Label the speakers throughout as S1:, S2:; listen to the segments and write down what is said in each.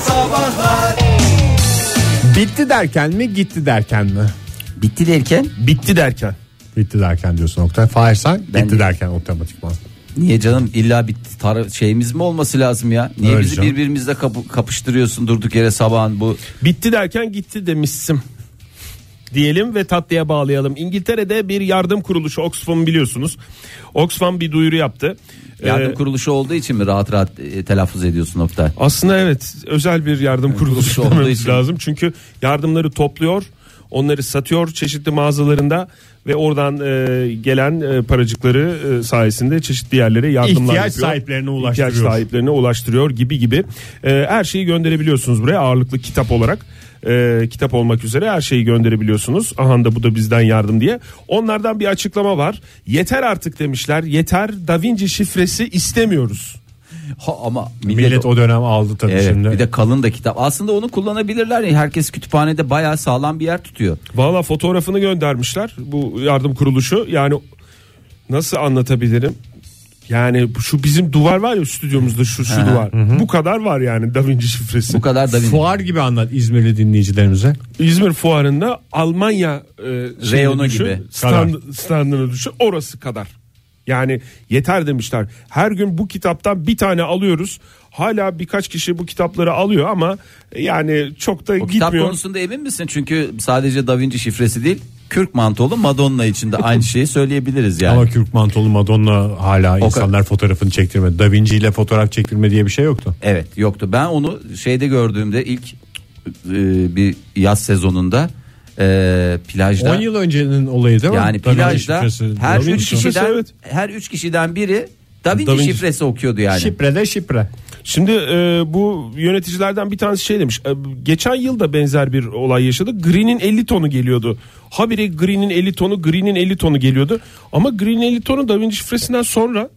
S1: Sabahlar
S2: Bitti derken mi gitti derken mi?
S3: Bitti derken
S2: Bitti derken. Bitti derken diyorsun Oktay. Fahir sen gitti
S3: de-
S2: derken otomatikman.
S3: niye canım illa bir tar- şeyimiz mi olması lazım ya? Niye
S2: Öyle
S3: bizi
S2: canım.
S3: birbirimizle kapı- kapıştırıyorsun durduk yere sabahın bu?
S4: Bitti derken gitti demişsim. Diyelim ve tatlıya bağlayalım. İngiltere'de bir yardım kuruluşu Oxfam biliyorsunuz. Oxfam bir duyuru yaptı.
S3: Yardım
S4: Ee,
S3: kuruluşu olduğu için mi rahat rahat e, telaffuz ediyorsun Oktay?
S4: Aslında evet özel bir yardım kuruluşu
S3: kuruluşu olduğu
S4: dememiz
S3: için.
S4: lazım. Çünkü yardımları topluyor, onları satıyor çeşitli mağazalarında ve oradan e, gelen e, paracıkları e, sayesinde çeşitli yerlere yardımlar
S2: İhtiyaç
S4: yapıyor.
S2: sahiplerine
S4: İhtiyaç
S2: ulaştırıyor.
S4: sahiplerine ulaştırıyor gibi gibi. E, her şeyi gönderebiliyorsunuz buraya ağırlıklı kitap olarak. E, kitap olmak üzere her şeyi gönderebiliyorsunuz. Aha da bu da bizden yardım diye. Onlardan bir açıklama var. Yeter artık demişler. Yeter Da Vinci şifresi istemiyoruz.
S3: Ha, ama millet,
S2: Millet o dönem aldı tabii
S3: Evet,
S2: şimdi.
S3: bir de kalın da kitap. Aslında onu kullanabilirler. ya. Herkes kütüphanede bayağı sağlam bir yer tutuyor.
S4: Valla fotoğrafını göndermişler bu yardım kuruluşu. Yani nasıl anlatabilirim? Yani şu bizim duvar var ya stüdyomuzda şu şu duvar. Bu kadar var yani Da Vinci şifresi.
S3: Bu kadar da bir
S2: Fuar gibi anlat İzmirli dinleyicilerimize.
S4: İzmir fuarında Almanya e, şeyini
S3: Reyonu
S4: düşün,
S3: gibi.
S4: Stand, standını düşün orası kadar. Yani yeter demişler. Her gün bu kitaptan bir tane alıyoruz. Hala birkaç kişi bu kitapları alıyor ama yani çok da
S3: O
S4: gitmiyor.
S3: kitap konusunda emin misin? Çünkü sadece Da Vinci şifresi değil, Kürk mantolu Madonna için de aynı şeyi söyleyebiliriz yani.
S2: Ama Kürk Mantolu Madonna hala insanlar fotoğrafını çektirmedi. Da Vinci ile fotoğraf çektirme diye bir şey yoktu.
S3: Evet, yoktu. Ben onu şeyde gördüğümde ilk e, bir yaz sezonunda e, plajda
S2: 10 yıl öncenin olayı değil mi?
S3: yani
S2: Da Vinci
S3: plajda
S2: şifresi
S3: her
S2: diyorsun.
S3: üç
S4: şifresi,
S3: kişiden
S4: evet.
S3: her üç kişiden biri Da Vinci,
S4: Da Vinci.
S3: şifresi okuyordu yani.
S2: Şifre de şifre.
S4: Şimdi e, bu yöneticilerden bir tanesi şey demiş. E, geçen yıl da benzer bir olay yaşadık. Green'in 50 tonu geliyordu. Habire Green'in 50 tonu, Green'in 50 tonu geliyordu. Ama Green'in 50 tonu Da Vinci şifresinden sonra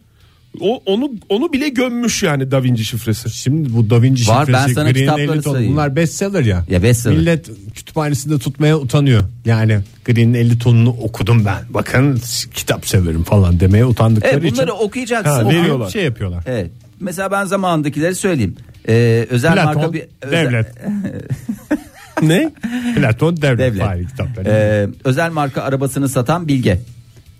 S4: o onu onu bile gömmüş yani Da Vinci şifresi.
S2: Şimdi bu Da Vinci
S3: Var, ben
S2: şifresi,
S3: sana
S2: Green
S3: kitapları
S2: 50 ton
S3: sayayım.
S2: bunlar bestseller ya.
S3: Ya bestseller.
S2: Millet kütüphanesinde tutmaya utanıyor. Yani Green'in 50 tonunu okudum ben. Bakın s- kitap severim falan demeye utandıkları
S3: Evet, E, bunları
S2: için.
S3: okuyacaksın.
S2: Ha,
S3: Okuyup
S2: veriyorlar. Şey yapıyorlar.
S3: Evet. Mesela ben zamanındakileri söyleyeyim. Ee, özel
S2: Platon,
S3: marka bir özel-
S2: devlet.
S4: ne?
S2: Platon devlet,
S3: devlet.
S2: Fahri kitapları.
S3: Ee, özel marka arabasını satan Bilge.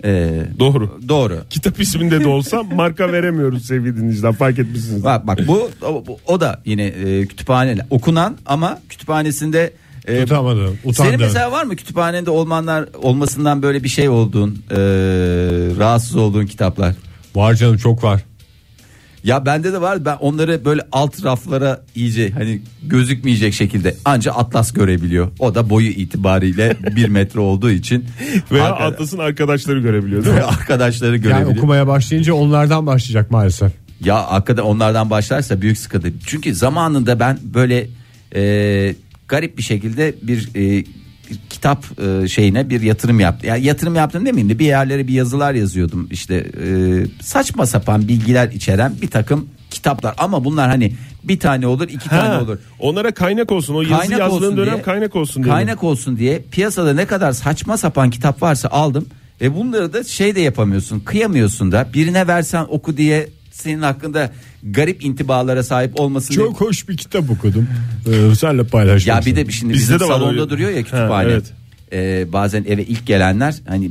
S3: Ee,
S4: Doğru.
S3: doğru.
S4: Kitap isminde de olsa marka veremiyoruz sevgili dinleyiciler fark etmişsiniz.
S3: Bak bak bu o, bu- o da yine e, kütüphane okunan ama kütüphanesinde e,
S2: Tutamadım,
S3: senin
S2: utandım.
S3: mesela var mı kütüphanende olmanlar olmasından böyle bir şey olduğun e, rahatsız olduğun kitaplar?
S2: Var canım çok var.
S3: Ya bende de var ben onları böyle alt raflara iyice hani gözükmeyecek şekilde anca atlas görebiliyor. O da boyu itibariyle bir metre olduğu için
S4: Veya
S3: arka-
S4: Atlas'ın arkadaşları görebiliyor değil mi?
S3: arkadaşları
S2: Yani
S3: görebiliyor.
S2: okumaya başlayınca onlardan başlayacak maalesef.
S3: Ya hakikaten onlardan başlarsa büyük sıkıntı. Çünkü zamanında ben böyle e, garip bir şekilde bir e, kitap e, şeyine bir yatırım yaptım. Ya yatırım yaptım demeyeyim de bir yerlere bir yazılar yazıyordum. İşte e, saçma sapan bilgiler içeren bir takım kitaplar. Ama bunlar hani bir tane olur, iki tane
S4: Ha,
S3: olur.
S4: Onlara kaynak olsun. O yazı
S3: Kaynak olsun
S4: yazdığın dönem
S3: diye,
S4: kaynak olsun diye.
S3: Kaynak olsun diye piyasada ne kadar saçma sapan kitap varsa aldım. Ve bunları da şey de yapamıyorsun, kıyamıyorsun da birine versen oku diye senin hakkında garip intibalara sahip olmasın. diye-
S2: Çok hoş bir kitap okudum. Ee, senle paylaşmışsın.
S3: Ya bir şey- de şimdi
S4: Bizde
S3: bizim
S4: de var
S3: salonda
S4: öyle.
S3: duruyor ya kütüphane.
S4: Ha, evet.
S3: Ee, bazen eve ilk gelenler hani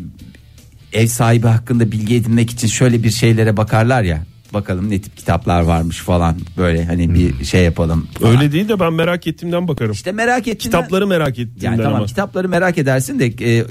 S3: ev sahibi hakkında bilgi edinmek için şöyle bir şeylere bakarlar ya. Bakalım ne tip kitaplar varmış falan böyle hani
S4: Hmm.
S3: bir şey yapalım. falan.
S4: Öyle değil de ben merak ettiğimden bakarım.
S3: İşte merak ettim.
S4: Kitapları merak ettiğimden
S3: Yani tamam
S4: ama.
S3: kitapları merak edersin de e,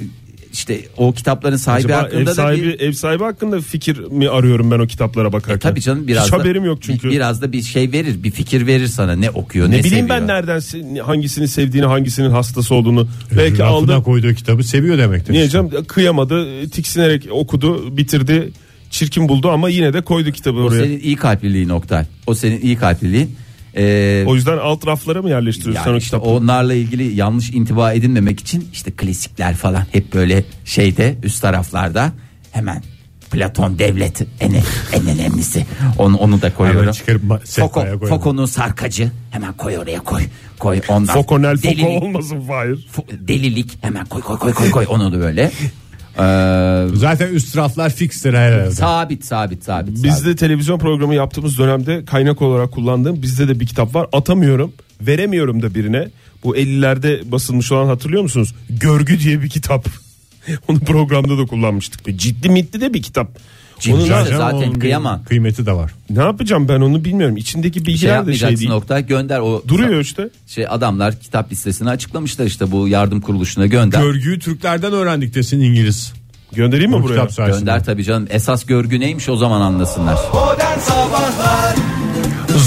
S3: işte o kitapların sahibi
S4: Acaba
S3: hakkında
S4: ev
S3: da
S4: sahibi,
S3: bir E,
S4: ev sahibi hakkında fikir mi arıyorum ben o kitaplara bakarken?
S3: tabii canım biraz
S4: Hiç
S3: da,
S4: haberim yok çünkü.
S3: bir- Biraz da bir şey verir, bir fikir verir sana ne okuyor, ne,
S4: ne bileyim
S3: seviyor.
S4: ben nereden se- hangisini sevdiğini, hangisinin hastası olduğunu. Belki
S2: Rafına
S4: aldı.
S2: koyduğu kitabı seviyor demektir.
S4: Niye canım kıyamadı, tiksinerek okudu, bitirdi, çirkin buldu ama yine de koydu kitabı
S3: O
S4: oraya.
S3: senin iyi kalpliliğin Oktay. O senin iyi kalpliliğin. Ee,
S4: O yüzden alt raflara mı yerleştiriyorsun sen
S3: yani
S4: o
S3: işte
S4: kitapları?
S3: onlarla ilgili yanlış intiba edinmemek için işte klasikler falan hep böyle şeyde üst taraflarda hemen Platon devleti en, en önemlisi. Onu, onu da koyuyorum.
S2: Hemen çıkarıp ma- sehpaya
S3: Foko-
S2: koyalım.
S3: Foko'nun sarkacı hemen koy oraya koy. Koy ondan.
S4: Fokonel Foko
S3: Delilik-
S4: olmasın Fahir.
S3: Fo- delilik hemen koy koy koy koy koy onu da böyle. Ee,
S2: Zaten üst raflar fikstir herhalde.
S3: sabit sabit sabit. sabit.
S4: Bizde televizyon programı yaptığımız dönemde kaynak olarak kullandığım bizde de bir kitap var. Atamıyorum, veremiyorum da birine. Bu 50'lerde basılmış olan hatırlıyor musunuz? Görgü diye bir kitap. Onu programda da kullanmıştık. Böyle Ciddi mitli de bir kitap.
S3: Ciddi.
S4: Onu
S3: Güzel
S4: ne,
S2: Zaten
S3: zaten
S2: onun bir
S3: kıyamam.
S2: Kıymeti de var.
S4: ne yapacağım ben onu bilmiyorum. İçindeki
S3: Bir şey
S4: bilgiler de şey
S3: yapmayacaksın
S4: değil.
S3: Oktay gönder o
S4: Duruyor işte.
S3: şey adamlar kitap listesini açıklamışlar işte bu yardım kuruluşuna gönder.
S2: Görgüyü Türklerden öğrendik desin İngiliz.
S4: Göndereyim mi
S2: Bu
S4: buraya?
S2: kitap sayesinde.
S3: gönder tabii canım. Esas görgü neymiş o zaman anlasınlar.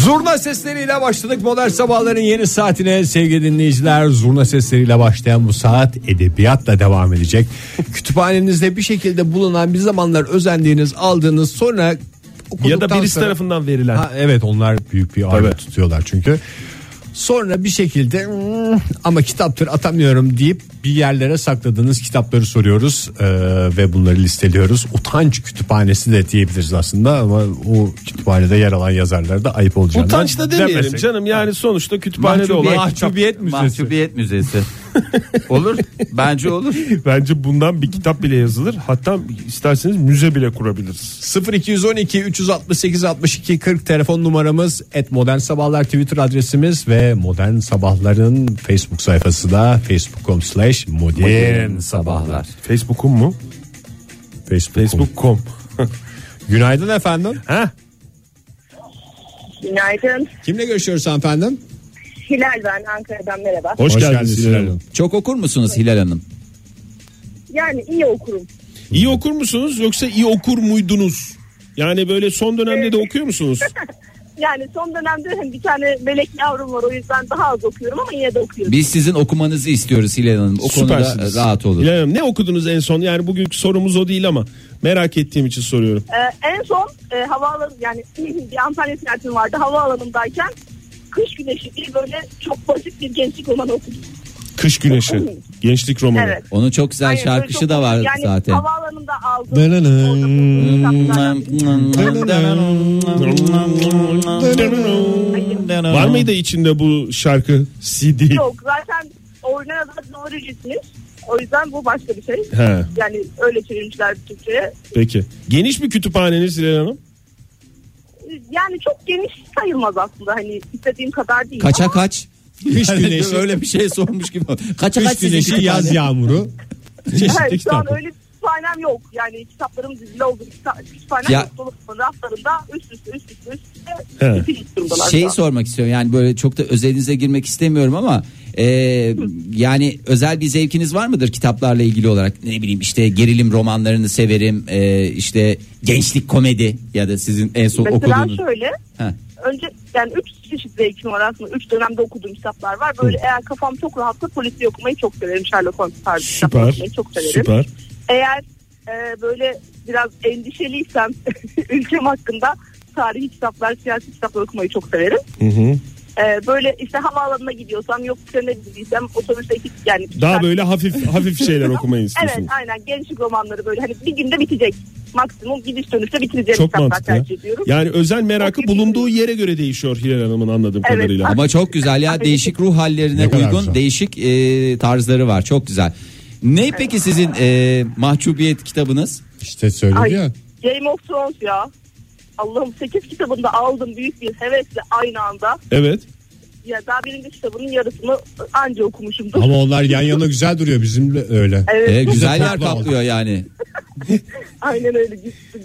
S2: Zurna sesleriyle başladık modern sabahların yeni saatine sevgili dinleyiciler. Zurna sesleriyle başlayan bu saat edebiyatla devam edecek. Kütüphanenizde bir şekilde bulunan bir zamanlar özendiğiniz aldığınız sonra
S4: Ya da
S2: okuduktan
S4: birisi
S2: sonra-
S4: tarafından verilen.
S2: Ha, evet onlar büyük bir ağırlık
S4: Tabii.
S2: tutuyorlar çünkü. Sonra bir şekilde "Hmm, ama kitaptır atamıyorum deyip bir yerlere sakladığınız kitapları soruyoruz eee, ve bunları listeliyoruz. Utanç kütüphanesi de diyebiliriz aslında ama o kütüphanede yer alan yazarlar da ayıp olacağını.
S4: Utanç da demeyelim
S2: demesek.
S4: canım. Yani sonuçta kütüphanede olan
S2: Mahcubiyet Müzesi.
S3: Mahcubiyet Müzesi. olur. Bence olur.
S4: Bence bundan bir kitap bile yazılır. Hatta isterseniz müze bile kurabiliriz.
S2: 0212 368 62 40 telefon numaramız et modern sabahlar twitter adresimiz ve modern sabahların facebook sayfası da facebook.com slash modern sabahlar
S4: Facebook'un mu?
S2: facebook,
S4: Facebook.com.
S2: günaydın efendim
S4: ha?
S5: Günaydın.
S2: kimle görüşüyoruz efendim
S5: Hilal ben Ankara'dan merhaba.
S4: Hoş, geldiniz. Hilal Hanım.
S3: Çok okur musunuz Hilal Hanım?
S5: Yani iyi okurum.
S4: İyi okur musunuz yoksa iyi okur muydunuz? Yani böyle son dönemde de okuyor musunuz?
S5: Yani son dönemde hani bir tane melek yavrum var o yüzden daha az okuyorum ama yine de okuyorum.
S3: Biz sizin okumanızı istiyoruz Hilal Hanım. O konuda
S4: Süpersiniz.
S3: rahat olun.
S4: Hilal Hanım, ne okudunuz en son? Yani bugünkü sorumuz o değil ama merak ettiğim için soruyorum.
S5: Ee, en son e, havaalanı yani bir Antalya seyahatim vardı havaalanındayken Kış Güneşi diye böyle çok basit bir gençlik romanı okudum.
S4: Kış Güneşi. Gençlik romanı.
S5: Evet.
S3: Onun çok güzel
S5: Aynen, böyle
S3: şarkısı
S5: çok
S3: da var
S5: basit. yani
S3: zaten.
S5: havaalanında aldım.
S2: Dınının.
S5: Orada bulduğum kitaplardan biri.
S4: Var mıydı içinde bu şarkı CD?
S5: Yok zaten orijinal adı Noricit'miş. O yüzden bu başka bir şey.
S4: He.
S5: Yani öyle çevirmişler Türkçe'ye.
S4: Peki. Geniş bir kütüphaneniz Hilal Hanım.
S5: yani çok geniş sayılmaz aslında hani istediğim kadar değil.
S3: Kaça
S5: Ama
S3: kaç? Kış güneşi. Öyle bir şey sormuş gibi. Kaça kaç
S2: kış
S3: sizin
S2: güneşi yaz
S3: kütüphane?
S2: yağmuru
S5: evet,
S4: Çeşitli
S5: şu an
S4: kitap.
S5: öyle bir kütüphanem yok. Yani kitaplarım dizili oldu. Kita- Kütüphanem
S3: Ya-
S5: ya. raflarında üst üste üst üste üst üste
S4: He.
S5: bitmiş durumdalar. şu
S3: Şey
S5: an.
S3: sormak istiyorum yani böyle çok da özelinize girmek istemiyorum ama e, yani özel bir zevkiniz var mıdır kitaplarla ilgili olarak ne bileyim işte gerilim romanlarını severim e, işte gençlik komedi ya da sizin en son
S5: Mesela
S3: okuduğunuz.
S5: şöyle
S3: Heh.
S5: önce yani üç çeşit zevkim var aslında. Üç dönemde okuduğum kitaplar var. Böyle eğer kafam çok rahatsa polisi okumayı çok severim. Sherlock Holmes tarzı kitapları
S4: Süper.
S5: okumayı çok severim.
S4: Süper.
S5: Eğer e, böyle biraz endişeliysem ülkem hakkında tarihi kitaplar, siyasi kitaplar okumayı çok severim. E, böyle işte havaalanına gidiyorsam yok trene gidiysem otobüste iki yani
S4: Daha
S5: kitap-
S4: böyle hafif hafif şeyler okumayı
S5: Evet
S4: istiyorsunuz.
S5: aynen gençlik romanları böyle hani bir günde bitecek. Maksimum gidiş dönüşte bitirecek
S4: Çok
S5: kitaplar
S4: mantıklı.
S5: tercih ediyorum.
S4: Yani özel merakı bulunduğu yere göre değişiyor Hilal Hanım'ın anladığım
S5: Evet.
S4: kadarıyla.
S3: Ama çok güzel ya değişik ruh hallerine
S2: Ne kadar
S3: uygun
S2: güzel.
S3: değişik e, tarzları var çok güzel. Ne peki sizin e, mahcubiyet kitabınız?
S2: işte söyledi
S5: Ay,
S2: ya
S5: Game of Thrones ya. Allah'ım 8 kitabını da aldım büyük bir hevesle aynı anda.
S4: Evet.
S5: Ya daha birinci kitabının yarısını anca okumuşumdur.
S2: ama onlar yan yana güzel duruyor bizimle öyle
S5: Evet.
S3: E, güzel yer
S2: toplu aldık.
S3: kaplıyor yani.
S5: Aynen öyle.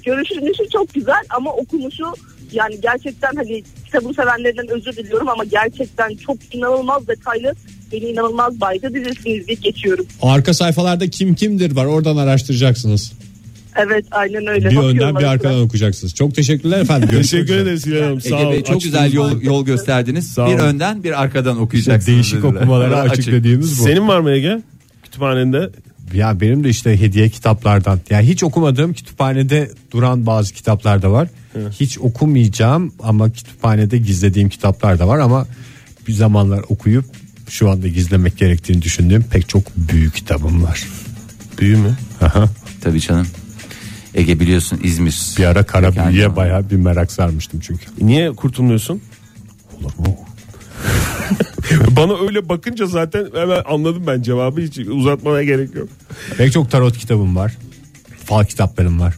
S5: Görüşülmüşü çok güzel ama okumuşu yani gerçekten hani kitabı sevenlerden özür diliyorum ama gerçekten çok inanılmaz detaylı beni inanılmaz baydı dizisiniz diye geçiyorum.
S2: arka sayfalarda kim kimdir var oradan araştıracaksınız
S5: Evet aynen öyle.
S2: bir
S5: Bakıyorum
S2: önden bir
S5: arada.
S2: arkadan okuyacaksınız çok teşekkürler efendim Görüşmek
S4: Teşekkür
S2: üzere.
S4: ederiz Hilal Hanım. Sağ
S3: Ege
S4: olun.
S3: Bey çok güzel yol yol gösterdiniz.
S4: Sağ
S3: Bir
S4: olun.
S3: önden bir arkadan okuyacaksınız.
S2: değişik
S3: dediler.
S2: okumalara açık dediğimiz bu
S4: Senin var mı Ege? Kütüphanende.
S2: Ya benim de işte hediye kitaplardan. Yani hiç okumadığım kütüphanede duran bazı kitaplar da var. Hiç okumayacağım ama kütüphanede gizlediğim kitaplar da var ama bir zamanlar okuyup şu anda gizlemek gerektiğini düşündüğüm pek çok büyük kitabım var.
S4: Büyü mü?
S2: Aha,
S3: Tabii canım. Ege biliyorsun İzmir.
S2: bir ara kara
S3: Mekan
S2: büyüye
S3: ya.
S2: bayağı bir merak sarmıştım çünkü.
S4: Niye kurtulmuyorsun?
S2: Olur mu?
S4: Bana öyle bakınca zaten hemen anladım ben cevabı hiç uzatmaya gerek yok.
S2: Pek çok tarot kitabım var. fal kitaplarım var.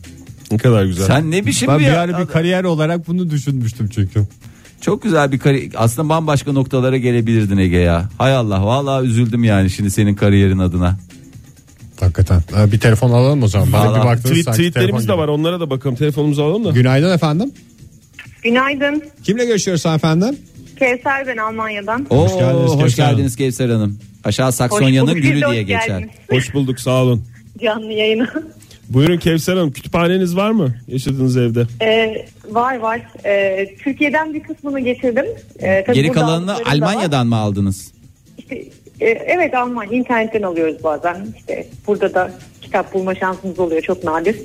S4: Ne kadar güzel.
S3: Sen ne biçim
S2: ben
S3: bir,
S2: bir
S3: ya-
S2: ara bir kariyer olarak bunu düşünmüştüm çünkü.
S3: Çok güzel bir kariyer. Aslında bambaşka noktalara gelebilirdin Ege ya. Hay Allah vallahi üzüldüm yani şimdi senin kariyerin adına.
S2: Hakikaten. Ee, Bir telefon alalım o zaman. Bana
S3: Alalım.
S2: bir baktınız
S4: Tweet,
S2: sanki telefon
S4: tweetlerimiz de
S2: gibi.
S4: var onlara da bakalım telefonumuzu alalım da.
S2: Günaydın efendim.
S5: Günaydın.
S2: Kimle görüşüyoruz efendim?
S5: Kevser ben Almanya'dan.
S3: Oo, hoş
S2: geldiniz
S3: geldiniz,
S2: Kevser Hanım.
S3: Kevser Hanım. Aşağı Saksonya'nın
S5: bulduk,
S3: gülü
S5: biz de
S3: diye
S5: hoş
S3: geçer.
S5: geldiniz.
S4: Hoş bulduk sağ olun.
S5: Canlı yayını.
S4: Buyurun Kevser Hanım kütüphaneniz var mı yaşadığınız evde?
S5: Ee, var var. Ee, Türkiye'den bir kısmını getirdim. Ee, tabii
S3: Geri
S5: burada
S3: kalanını
S5: aldıkları da var.
S3: Almanya'dan mı aldınız?
S5: İşte, e, evet Almanya. internetten alıyoruz bazen. İşte burada da kitap bulma şansımız oluyor. Çok nadir.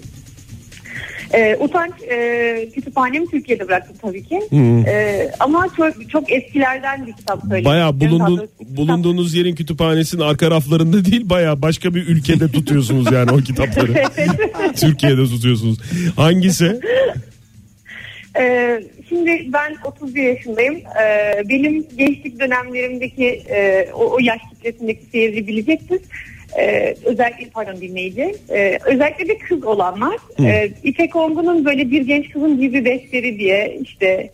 S5: Ee, utanç e, kütüphanemi Türkiye'de bıraktım tabii ki. Ee, ama çok, çok eskilerden bir şey kitap söyledim.
S4: Baya
S5: Daha
S4: bulunduğun,
S5: doğrusu kitap-
S4: bulunduğunuz yerin kütüphanesinin arka raflarında değil baya başka bir ülkede tutuyorsunuz yani o kitapları. Türkiye'de tutuyorsunuz. Hangisi?
S5: Ee, şimdi ben 31 yaşındayım. Ee, benim gençlik dönemlerimdeki e, o, o yaş kitlesindeki seyirci bilecektir. Ee, özellikle pardon dinleyici. Ee, özellikle de kız olanlar. Ee, İpek Ongun'un böyle bir genç kızın gibi besteri diye işte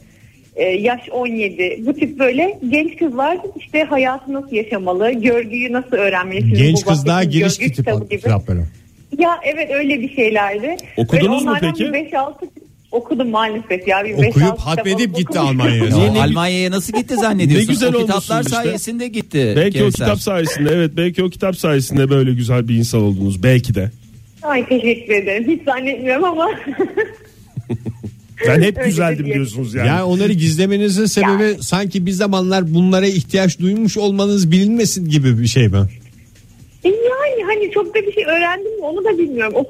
S5: e, yaş 17 bu tip böyle genç kızlar işte hayatı nasıl yaşamalı, görgüyü nasıl öğrenmeli. Sizin
S2: Genç
S5: bu
S2: kızlar giriş
S5: bahsettiğiniz görgü
S2: kitap,
S5: kitabı gibi.
S2: kitapları.
S5: Ya evet öyle bir şeylerdi.
S4: Okudunuz mu
S5: Böyle onlardan
S4: peki?
S5: Bir 5-6 okudum maalesef ya. Bir beş,
S2: Okuyup
S5: altı kitap
S2: hatmedip
S5: alıp
S2: gitti
S5: okumuşum.
S2: Almanya'ya.
S3: Ya,
S4: Niye, ne-
S3: Almanya'ya nasıl gitti zannediyorsun?
S4: Ne güzel
S3: o kitaplar
S4: olmuşsunuz işte.
S3: sayesinde gitti.
S4: Belki o
S3: Kevser.
S4: kitap sayesinde evet belki o kitap sayesinde böyle güzel bir insan oldunuz belki de.
S5: Ay teşekkür ederim. Hiç zannetmiyorum ama.
S4: Ben hep
S5: Öyle
S4: güzeldim
S5: diye.
S4: diyorsunuz yani.
S2: Yani, onları gizlemenizin sebebi sanki bir zamanlar bunlara ihtiyaç duymuş olmanız bilinmesin gibi bir şey mi?
S5: E yani hani çok da bir şey öğrendim mi onu da bilmiyorum. O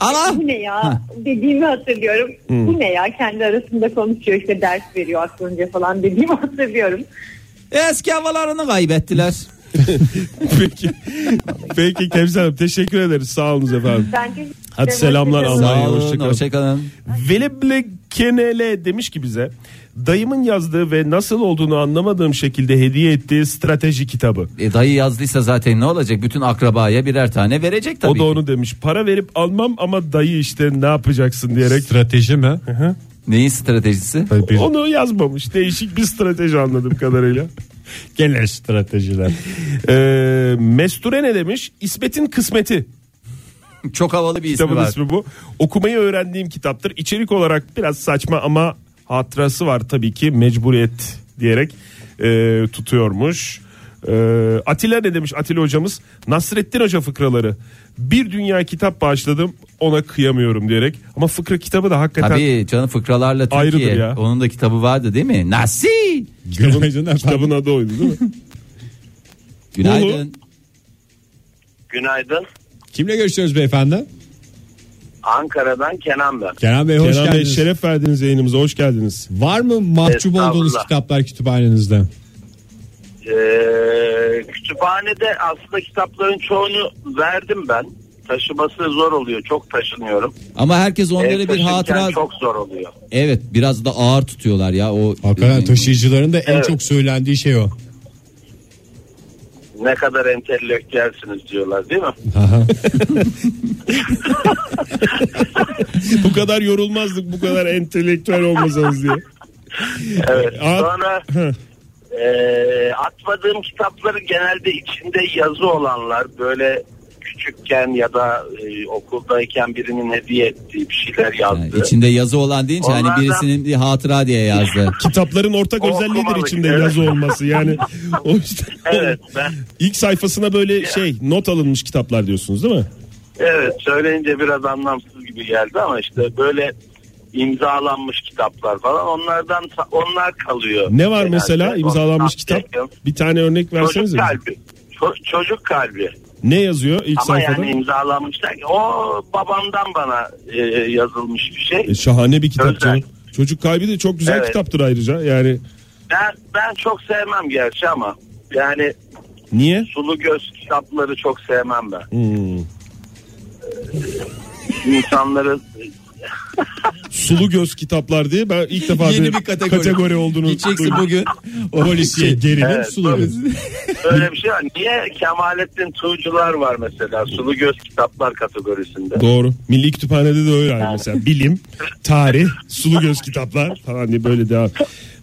S3: Ama
S5: bu ne ya
S3: Ha.
S5: dediğimi hatırlıyorum. Bu ne ya kendi arasında konuşuyor işte ders veriyor aklınca falan dediğimi hatırlıyorum.
S3: eski havalarını kaybettiler.
S4: peki. Peki Kevser Hanım teşekkür ederiz. Sağ olunuz efendim.
S5: Bence
S4: Hadi selamlar
S5: Hoşçakalın.
S4: Almanya.
S3: Sağ olun,
S4: hoşçakalın.
S3: hoşçakalın.
S4: Veleble Kenele demiş ki bize dayımın yazdığı ve nasıl olduğunu anlamadığım şekilde hediye ettiği strateji kitabı.
S3: E, dayı yazdıysa zaten ne olacak? Bütün akrabaya birer tane verecek tabii
S4: o da
S3: ki.
S4: onu demiş. Para verip almam ama dayı işte ne yapacaksın diyerek.
S2: Strateji mi?
S3: Neyin stratejisi?
S2: Böyle bir-
S4: Onu yazmamış. Değişik bir strateji anladığım kadarıyla.
S2: Genel stratejiler.
S4: Ee, Mesture ne demiş? İsmet'in kısmeti.
S3: Çok havalı bir ismi
S4: Kitabın
S3: var.
S4: ismi bu. Okumayı öğrendiğim kitaptır. İçerik olarak biraz saçma ama hatırası var tabii ki mecburiyet diyerek e, tutuyormuş. E, Atilla ne demiş Atilla hocamız? Nasrettin Hoca fıkraları. Bir dünya kitap bağışladım ona kıyamıyorum diyerek. Ama fıkra kitabı da hakikaten
S3: Tabii canım fıkralarla
S4: Ayrıdır
S3: Türkiye.
S4: ya.
S3: Onun da kitabı vardı değil mi? Nasıl?
S2: Günaydın efendim.
S4: kitabın adı oydu değil mi?
S3: Günaydın.
S6: Günaydın.
S2: Kimle görüşüyoruz beyefendi?
S6: Ankara'dan Kenan ben.
S2: Kenan Bey hoş
S4: Kenan Bey
S2: geldiniz.
S4: şeref verdiniz yayınımıza hoş geldiniz.
S2: Var mı mahcup
S6: Estağfurullah.
S2: olduğunuz kitaplar kütüphanenizde?
S6: Ee, kütüphanede aslında kitapların çoğunu verdim ben. Taşıması zor oluyor. Çok taşınıyorum.
S3: Ama herkes
S6: Ev
S3: onları bir
S6: taşırken
S3: hatıra...
S6: Çok zor oluyor.
S3: Evet biraz da ağır tutuyorlar ya. o.
S2: Hakikaten taşıyıcıların da en
S6: Evet.
S2: çok söylendiği şey o.
S6: Ne kadar entelektüelsiniz diyorlar değil mi?
S4: bu kadar yorulmazdık bu kadar entelektüel olmasanız diye.
S6: Evet.
S3: Ee,
S4: At-
S6: Sonra eee, atmadığım kitapları genelde içinde yazı olanlar böyle küçükken ya da e, okuldayken birinin hediye ettiği bir şeyler yazdı.
S3: Yani içinde yazı olan deyince hani
S6: Onlardan-
S3: birisinin bir hatıra diye yazdı.
S4: Kitapların ortak
S6: Okumalı,
S4: özelliğidir içinde
S6: evet.
S4: yazı olması. Yani o işte
S6: Evet ben
S4: ilk sayfasına böyle şey not alınmış kitaplar diyorsunuz değil mi?
S6: Evet söyleyince biraz anlamsız gibi geldi ama işte böyle imzalanmış kitaplar falan onlardan onlar kalıyor.
S4: Ne var
S6: Genelde.
S4: mesela imzalanmış
S6: Onlar- şey
S4: kitap? Bir tane örnek versenize.
S6: Çocuk
S4: bize.
S6: kalbi. Ço- çocuk kalbi.
S4: Ne yazıyor ilk
S6: Ama
S4: sayfada?
S6: yani imzalanmışlar. ki, O babamdan bana e, yazılmış bir şey.
S4: E, şahane bir kitap
S6: Özel.
S4: canım. Çocuk kalbi de çok güzel
S6: Evet.
S4: kitaptır ayrıca. Yani
S6: Ben ben çok sevmem gerçi ama yani
S4: niye? Hmm.
S6: sulu göz kitapları çok sevmem ben. İnsanları
S4: Sulu göz kitaplar diye ben ilk defa
S3: Yeni
S4: bir,
S3: bir kategori.
S4: kategori. olduğunu
S3: Gideceksin
S4: duydum.
S3: bugün. O
S4: Polisiye
S3: şey-
S4: gerilim
S6: Evet,
S4: sulu
S6: tabii.
S4: göz.
S6: Böyle bir şey var. Niye Kemalettin Tuğcular var mesela sulu göz kitaplar kategorisinde?
S4: Doğru. Milli Kütüphane'de de öyle yani mesela. Bilim, tarih, sulu göz kitaplar falan diye böyle devam.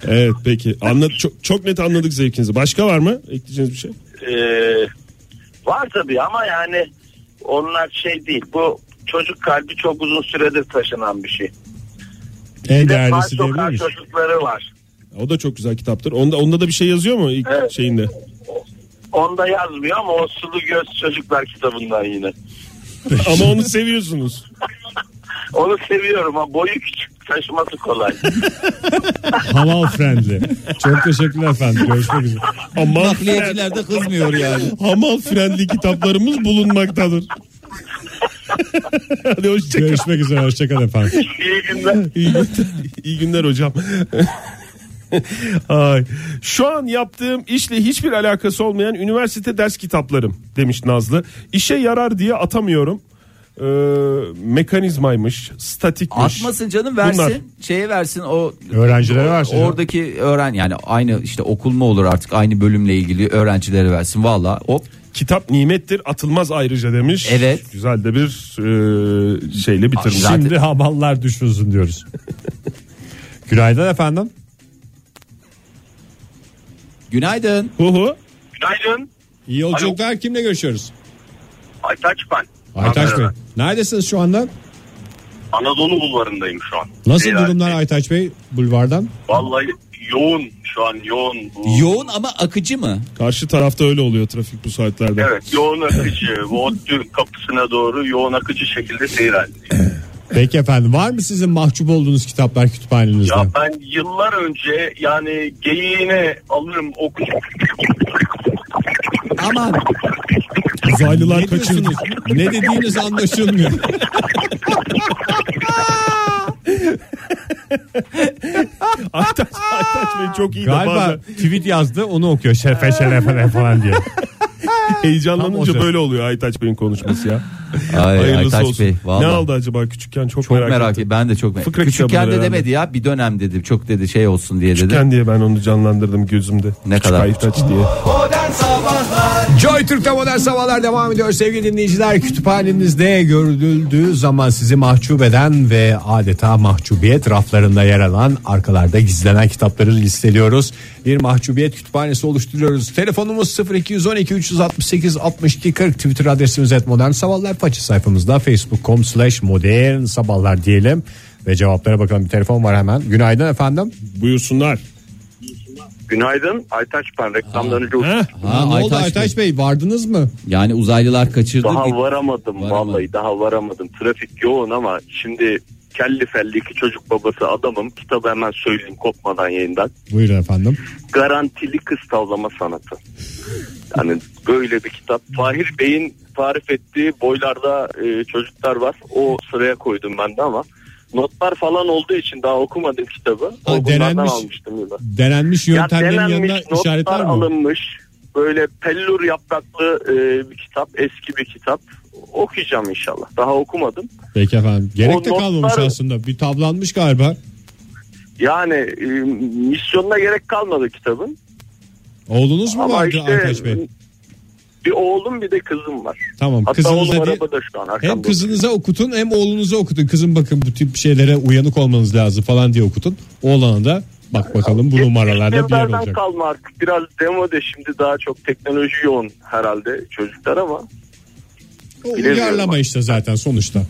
S4: Evet peki. Anla, çok, çok net anladık zevkinizi. Başka var mı? Ekleyeceğiniz bir şey?
S6: Ee, var tabii ama yani onlar şey değil. Bu çocuk kalbi çok uzun süredir taşınan bir şey.
S4: En
S6: Bir de Far
S4: değerlisi diyebilir
S6: Sokağı
S4: miyiz?
S6: çocukları var.
S4: O da çok güzel kitaptır. Onda, onda da bir şey yazıyor mu ilk
S6: Evet.
S4: şeyinde?
S6: Onda yazmıyor ama o sulu göz çocuklar kitabından yine.
S4: Ama onu seviyorsunuz.
S6: Onu seviyorum ama boyu küçük taşıması kolay.
S2: Halal friendly. Çok teşekkürler efendim. Görüşmek üzere.
S4: Ama
S3: Nakliyeciler de kızmıyor yani.
S4: Hamal friendly kitaplarımız bulunmaktadır. Hadi hoşçakalın.
S2: Görüşmek üzere. Hoşçakalın efendim.
S6: İyi günler.
S4: İyi günler, iyi günler hocam. Ay. Şu an yaptığım işle hiçbir alakası olmayan üniversite ders kitaplarım demiş Nazlı. İşe yarar diye atamıyorum. Ee, mekanizmaymış, statikmiş.
S3: Atmasın canım versin.
S4: Bunlar.
S3: Şeye versin o
S2: Öğrencilere
S3: o-
S2: versin canım.
S3: Oradaki öğren yani aynı işte okul mu olur artık aynı bölümle ilgili öğrencilere versin. Valla hop
S4: Kitap nimettir, atılmaz ayrıca demiş.
S3: Evet.
S4: Güzel de bir e, şeyle bitirmiş.
S3: Zaten-
S2: Şimdi hamallar düşünsün diyoruz. Günaydın efendim.
S3: günaydın.
S4: Hu hu.
S6: Günaydın.
S2: İyi yolculuklar. Kimle görüşüyoruz?
S6: Aytaç ben.
S2: Aytaç Bey.
S6: Ankara'dan.
S2: Neredesiniz şu anda?
S6: Anadolu bulvarındayım şu an.
S2: Nasıl
S6: Beyler,
S2: durumlar Aytaç Bey bulvardan?
S6: Vallahi yoğun şu an yoğun. Bu-
S3: Yoğun ama akıcı mı?
S4: Karşı tarafta öyle oluyor trafik bu saatlerde.
S6: Evet yoğun akıcı. Bu ODTÜ kapısına doğru yoğun akıcı şekilde seyir halinde.
S2: Peki efendim. Var mı sizin mahcup olduğunuz kitaplar kütüphanenizde?
S6: Ya ben yıllar önce yani geyiğine alırım okuyup
S3: Aman
S2: Uzaylılar kaçırdı. ne dediğiniz anlaşılmıyor.
S4: Aytaç, Aytaç Bey çok iyi de
S2: Galiba
S4: bazen
S2: tweet yazdı onu okuyor şerefe şerefe falan diye.
S4: heyecanlanınca
S2: Tam o
S4: böyle oluyor Aytaç Bey'in konuşması ya.
S3: Ay,
S4: Hayırlısı
S3: Aytaç
S4: olsun.
S3: Bey vallahi.
S4: Ne aldı acaba küçükken çok,
S3: Çok
S4: merak,
S3: merak,
S4: ettim.
S3: ettim. Ben de çok merak
S4: Fıkra
S3: Küçükken
S4: kitabıdır
S3: de
S4: herhalde.
S3: demedi ya bir dönem dedim. Çok dedi şey olsun diye dedi.
S4: Küçükken diye ben onu canlandırdım gözümde.
S3: Ne
S4: Küçük
S3: kadar
S4: Aytaç diye.
S2: Joy Türk'te modern sabahlar devam ediyor. Sevgili dinleyiciler kütüphanenizde görüldüğü zaman sizi mahcup eden ve adeta mahcubiyet raflarında yer alan arkalarda gizlenen kitapları listeliyoruz. Bir mahcubiyet kütüphanesi oluşturuyoruz. Telefonumuz 0212 368 62 40 Twitter adresimiz et modern sabahlar. Façı sayfamızda facebook.com slash modern sabahlar diyelim. Ve cevaplara bakalım bir telefon var hemen. Günaydın efendim.
S4: Buyursunlar.
S6: Günaydın. Aytaç ben reklamdan önce uç-
S4: Ha?
S3: Ha,
S2: ne
S3: Aytaç
S2: oldu
S3: Bey.
S2: Aytaç Bey vardınız mı?
S3: Yani uzaylılar kaçırdı.
S6: Daha
S3: git-
S6: varamadım
S3: Varamadım.
S6: vallahi daha varamadım. Trafik yoğun ama şimdi kelli felli iki çocuk babası adamım. Kitabı hemen söyleyeyim kopmadan yayından.
S2: Buyurun efendim.
S6: Garantili kız tavlama sanatı. Yani böyle bir kitap. Fahir Bey'in tarif ettiği boylarda e, çocuklar var. O sıraya koydum ben de ama notlar falan olduğu için daha okumadım kitabı.
S2: Ha,
S6: O bunlardan
S2: denenmiş.
S6: almıştım yıllar.
S2: Denenmiş
S6: Ya
S2: yöntemlerin
S6: denenmiş,
S2: yanına
S6: notlar
S2: işaretler mi?
S6: alınmış. Böyle pellur yapraklı e, bir kitap, eski bir kitap. Okuyacağım inşallah. Daha okumadım.
S2: Peki efendim. Gerek
S6: O
S2: de kalmamış
S6: notlar-
S2: aslında. Bir tablanmış galiba.
S6: Yani e, misyonuna gerek kalmadı kitabın.
S2: Oğlunuz mu
S6: Ama
S2: vardı
S6: işte
S2: Aytaç Bey?
S6: bir oğlum bir de kızım var.
S2: Tamam.
S6: Hatta oğlum
S2: Kızınıza değil,
S6: arabada şu an arkamda.
S2: hem kızınıza okutun hem oğlunuza okutun. Kızım bakın bu tip şeylere uyanık olmanız lazım falan diye okutun. Oğlana da bak bakalım bu numaralarda bir yer
S6: Yıllardan
S2: olacak.
S6: kalma artık. Biraz demode şimdi daha çok teknoloji yoğun herhalde çocuklar ama.
S2: O
S6: bilemiyorum
S2: Uyarlama
S6: ben.
S2: işte zaten sonuçta.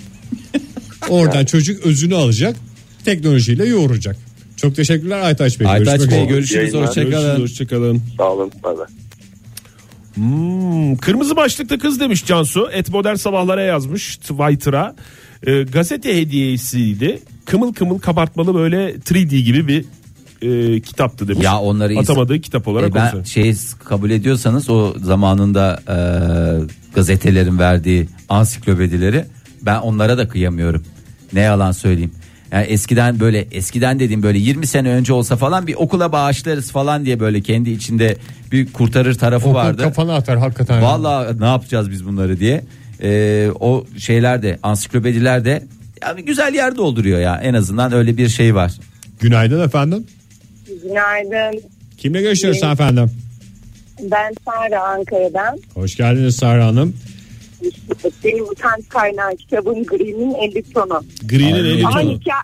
S2: Oradan çocuk özünü alacak. Teknolojiyle yoğuracak. Çok teşekkürler Aytaç Bey.
S3: Aytaç
S2: Görüşmek
S3: Bey
S2: üzere.
S3: görüşürüz.
S6: Yayınlar.
S4: Görüşürüz,
S3: Hoşçakalın.
S4: hoşçakalın.
S6: Sağ olun. Bay bay.
S4: Hmm, kırmızı başlıklı kız demiş Cansu. Et modern sabahlara yazmış Twitter'a. Ee, gazete hediyesiydi. Kımıl kımıl kabartmalı böyle 3D gibi bir e, kitaptı demiş.
S3: Ya onları ins-
S4: Atamadığı kitap olarak
S3: E, ben
S4: olsun.
S3: şey kabul ediyorsanız o zamanında e, gazetelerin verdiği ansiklopedileri ben onlara da kıyamıyorum. Ne yalan söyleyeyim. Yani eskiden böyle eskiden dediğim böyle 20 sene önce olsa falan bir okula bağışlarız falan diye böyle kendi içinde bir kurtarır tarafı
S2: Okul
S3: vardı.
S2: Kafana atar hakikaten.
S3: E, Vallahi ne yapacağız biz bunları diye. Ee, o şeyler de ansiklopediler de Yani güzel yer dolduruyor ya en azından öyle bir şey var.
S2: Günaydın efendim.
S5: Günaydın.
S2: Kimle görüşüyoruz efendim?
S5: Ben Sara Ankara'dan.
S2: Hoş geldiniz Sara Hanım.
S5: Benim utanç kaynağı kitabım Green'in 50 tonu.
S4: Green'in
S3: Ay.
S4: 50
S5: Ama,
S4: tonu.
S5: hikaye,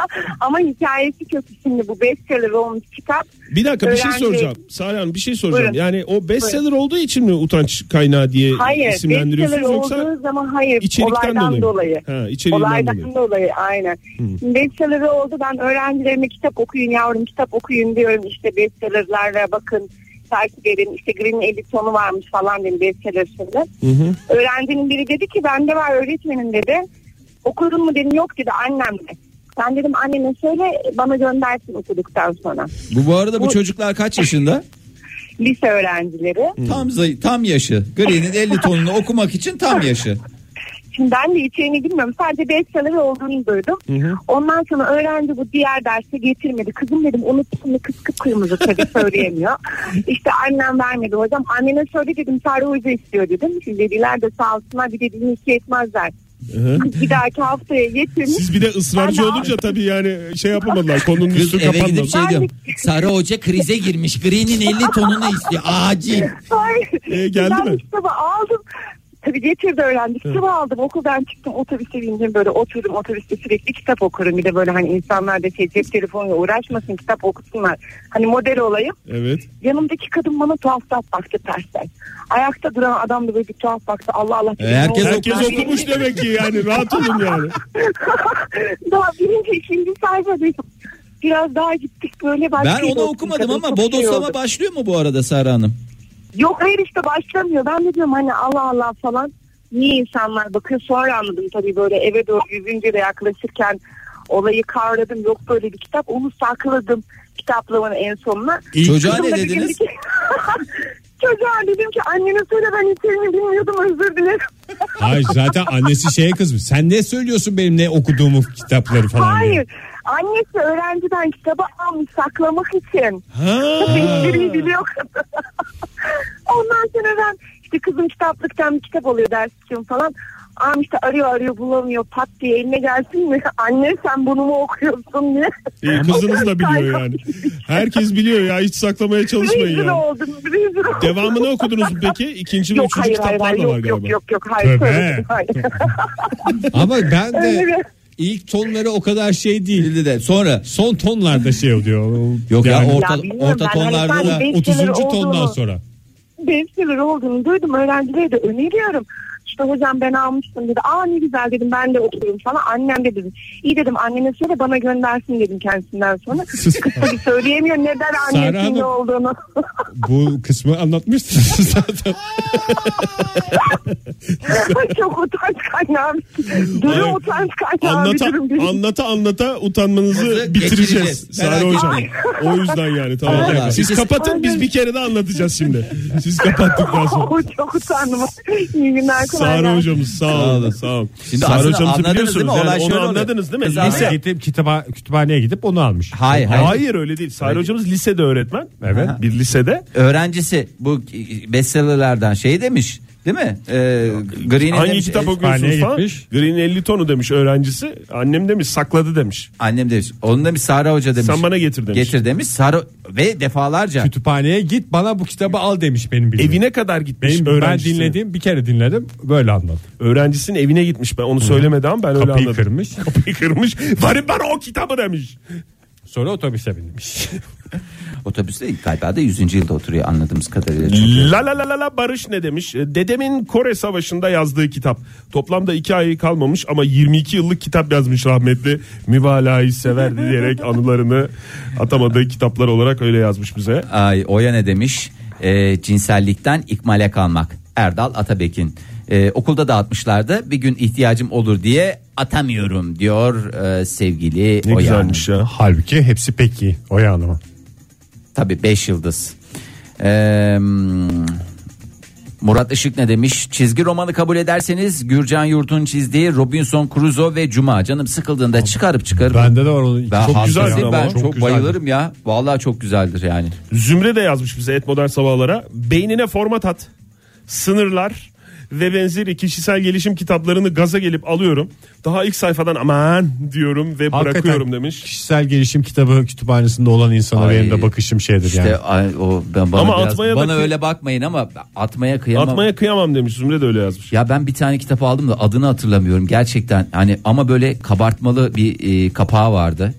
S5: ama hikayesi kötü şimdi bu bestseller olmuş kitap.
S4: Bir dakika bir şey
S5: Öğrenci-
S4: soracağım. Sara Hanım bir şey soracağım.
S5: Buyurun.
S4: Yani o bestseller olduğu için mi utanç kaynağı diye
S5: Hayır bestseller
S4: isimlendiriyorsunuz yoksa
S5: olduğu zaman hayır
S4: içerikten dolayı?
S5: olaydan dolayı.
S4: Ha, içeriğinden
S5: Olaydan
S4: dolayı.
S5: dolayı. aynen. Bestseller oldu ben öğrencilerime kitap okuyun yavrum kitap okuyun diyorum işte bestsellerlerle bakın takip edin işte Green'in 50 tonu varmış falan dedim bestseller şimdi. Öğrencinin biri dedi ki bende var öğretmenim dedi. Okudun mu dedim yok dedi annem de. Ben dedim annene söyle bana göndersin okuduktan sonra.
S3: Bu bu arada bu,
S5: Bu-
S3: çocuklar kaç yaşında?
S5: Lise öğrencileri.
S3: Tam zayı- tam yaşı. Green'in 50 tonunu okumak için tam yaşı.
S5: Şimdi ben de içeriğini bilmiyorum. Sadece bestseller olduğunu duydum. Ondan sonra öğrenci bu diğer derse getirmedi. Kızım dedim unuttun mu kız kıpkırmızı tabii söyleyemiyor. işte annem vermedi hocam. Annene söyle dedim Sarı Hoca istiyor dedim. Şimdi dediler de sağ olsunlar bir dediğini iki etmezler. Kız bir dahaki haftaya getirmiş.
S4: Siz bir de ısrarcı
S5: Ben de-
S4: olunca tabii yani şey yapamadılar. Konunun
S7: Kız
S4: üstü
S7: eve gidip
S4: kapanmadı.
S7: şey diyorum. Sarı Hoca krize girmiş. Green'in 50 tonunu istiyor. Acil.
S5: Ay,
S4: Ee, geldi
S5: ben
S4: mi?
S5: Kitabı aldım. Tabii getirdi öğrendim. Kitabı aldım. Okuldan çıktım. Otobüse bindim böyle oturdum. Otobüste sürekli kitap okurum. Bir de böyle hani insanlar da şey cep telefonuyla uğraşmasın kitap okusunlar. Hani model olayım.
S4: Evet.
S5: Yanımdaki kadın bana tuhaf tuhaf baktı tersten. Ayakta duran adam da böyle bir tuhaf baktı. Allah Allah. dedim,
S3: E, herkes
S5: ne oldu?
S4: Herkes
S5: Daha
S4: okumuş
S5: birinci-
S4: demek ki yani rahat olun yani.
S5: Daha birinci ikinci sayfadayım. Biraz daha gittik böyle başka
S3: Ben
S5: yere
S3: onu
S5: oturdum.
S3: okumadım
S5: Kadın
S3: ama
S5: çok şey oldu.
S3: bodoslama başlıyor mu bu arada Sara Hanım?
S5: Yok hayır işte başlamıyor. Ben de diyorum hani Allah Allah falan. Niye insanlar bakıyor sonra anladım tabii böyle eve doğru yüzünce de yaklaşırken olayı kavradım. Yok böyle bir kitap onu sakladım kitaplamanın en sonuna.
S3: Çocuğa
S5: Kızım
S3: ne
S5: da bir gün
S3: dediniz?
S5: dedi ki- Çocuğa dedim ki annene söyle ben içeriğini bilmiyordum özür dilerim.
S2: Hayır zaten annesi şeye kızmış. Sen ne söylüyorsun benim ne okuduğumu kitapları falan. diye.
S5: Hayır. Annesi öğrenciden kitabı almış saklamak için.
S4: Ha.
S5: Beynini biliyor. Ondan sonra ben işte kızım kitaplıktan bir kitap alıyor ders için falan. Am işte arıyor arıyor bulamıyor pat diye eline gelsin mi? Anne sen bunu mu okuyorsun diye.
S4: İyi, kızınız da biliyor yani. Herkes biliyor ya hiç saklamaya çalışmayın
S5: Rezil
S4: ya.
S5: oldum. Rezil oldum.
S4: Devamını okudunuz mu peki? İkinci ve
S5: Yok
S4: üçüncü
S5: hayır hayır,
S4: kitaplar
S5: hayır
S4: da var
S5: yok,
S4: galiba.
S5: yok yok yok hayır.
S2: Tövbe.
S5: söyledim, hayır.
S2: Ama ben
S5: Öyle
S2: de ilk tonları o kadar şey değil.
S3: Bildi de sonra.
S2: Son tonlarda şey oluyor.
S3: Yok ya,
S2: Yani
S3: o-
S5: Ya
S3: Orta-
S5: bilmiyorum
S3: orta
S5: ben hani
S3: tonlarda
S5: sadece
S3: da
S5: beş
S2: 30.
S5: şeyler
S2: tondan
S5: olduğunu-
S2: sonra.
S5: bestseller olduğunu duydum. Öğrencilere de öneriyorum. İşte hocam ben almıştım dedi. Aa ne güzel dedim ben de okuyorum falan. Annem de dedim. İyi dedim annene söyle bana göndersin dedim kendisinden sonra. Kız tabii söyleyemiyor neden
S2: Sara
S5: annesinin
S2: Hanım.
S5: ne olduğunu.
S2: Bu kısmı anlatmışsınız zaten.
S5: Çok utanç kaynağı. bir- Durum
S4: Ay,
S5: utanç kaynağı bir
S4: Anlata,
S5: durum değil.
S4: anlata anlata utanmanızı
S3: Geçireceğiz.
S4: bitireceğiz.
S3: Merak
S4: Sara Hocam. O yüzden yani tamam.
S3: Vallahi.
S4: Siz kapatın biz bir kere de anlatacağız şimdi. Siz kapattıktan sonra.
S5: Çok utandım. İyi günler. kolay
S4: Sara
S5: gelsin.
S4: hocamız sağ olun. Sağ olun.
S3: Şimdi
S4: Sara
S3: aslında
S4: hocamızı
S3: anladınız
S4: biliyorsunuz.
S3: değil mi?
S4: yani
S3: Olay şöyle
S4: onu
S3: oluyor.
S4: anladınız değil mi?
S3: Kız
S4: Lise.
S3: anlıyor.
S2: gidip kitaba, kütüphaneye gidip onu almış.
S3: Hayır hayır.
S4: Hayır öyle değil. Sara hocamız lisede öğretmen.
S2: Evet.
S4: Bir lisede.
S3: Öğrencisi bu bestsellerlerden şey demiş değil mi? Ee, Green'in
S4: Hangi
S3: demiş,
S4: kitap
S3: e,
S4: okuyorsunuz
S2: kütüphaneye
S4: falan?
S2: gitmiş.
S4: Green 50 tonu demiş öğrencisi. Annem demiş sakladı demiş.
S3: Annem demiş. Onun demiş Sara Hoca demiş.
S4: Sen bana getir demiş.
S3: Getir demiş. Sara ve defalarca.
S2: Kütüphaneye git bana bu kitabı al demiş benim bildiğim.
S4: Evine kadar gitmiş
S2: benim, ben
S4: öğrencisinin.
S2: dinlediğim bir kere dinledim böyle anladım.
S4: Öğrencisinin evine gitmiş. Ben onu söylemeden ben öyle
S2: Kapıyı
S4: anladım.
S2: kırmış.
S4: Kapıyı kırmış. Varın bana o kitabı demiş.
S2: Sonra otobüse binmiş.
S3: Otobüste galiba da 100. yılda oturuyor anladığımız kadarıyla. Çünkü.
S4: La la la la la Barış ne demiş? E, Dedemin Kore Savaşı'nda yazdığı kitap. Toplamda 2 ay kalmamış ama 22 yıllık kitap yazmış rahmetli. Mübalağayı severdi diyerek anılarını atamadığı kitaplar olarak öyle yazmış bize.
S3: Ay Oya ne demiş? Ee, cinsellikten ikmale kalmak. Erdal Atabekin. Ee, okulda dağıtmışlardı. Bir gün ihtiyacım olur diye atamıyorum diyor e, sevgili
S4: Ne
S3: Oya.
S4: güzelmiş ya.
S2: Halbuki hepsi peki o yanıma.
S3: Tabii 5 yıldız. Ee, Murat Işık ne demiş? Çizgi romanı kabul ederseniz Gürcan Yurt'un çizdiği Robinson Crusoe ve Cuma. Canım sıkıldığında çıkarıp çıkarıp.
S2: Bende de var onun.
S3: ben
S2: Çok
S4: güzel
S3: hastasıyım.
S4: ya.
S3: Ben
S4: Ama
S3: çok,
S4: çok güzel.
S3: bayılırım ya. Vallahi çok güzeldir yani.
S4: Zümre de yazmış bize et modern sabahlara. Beynine format at. Sınırlar. ve benzeri kişisel gelişim kitaplarını gaza gelip alıyorum. Daha ilk sayfadan aman diyorum ve
S2: Hakikaten
S4: bırakıyorum demiş.
S2: Kişisel gelişim kitabı kütüphanesinde olan insana
S3: Ay,
S2: benim de bakışım şeydir
S3: İşte
S2: yani.
S3: ay, o ben bana
S4: Ama
S3: biraz-
S4: atmaya da
S3: bana
S4: kı-
S3: öyle bakmayın ama atmaya kıyamam.
S4: Atmaya kıyamam demiş Zümre de öyle yazmış.
S3: Ya ben bir tane kitap aldım da adını hatırlamıyorum gerçekten. Hani ama böyle kabartmalı bir e, kapağı vardı.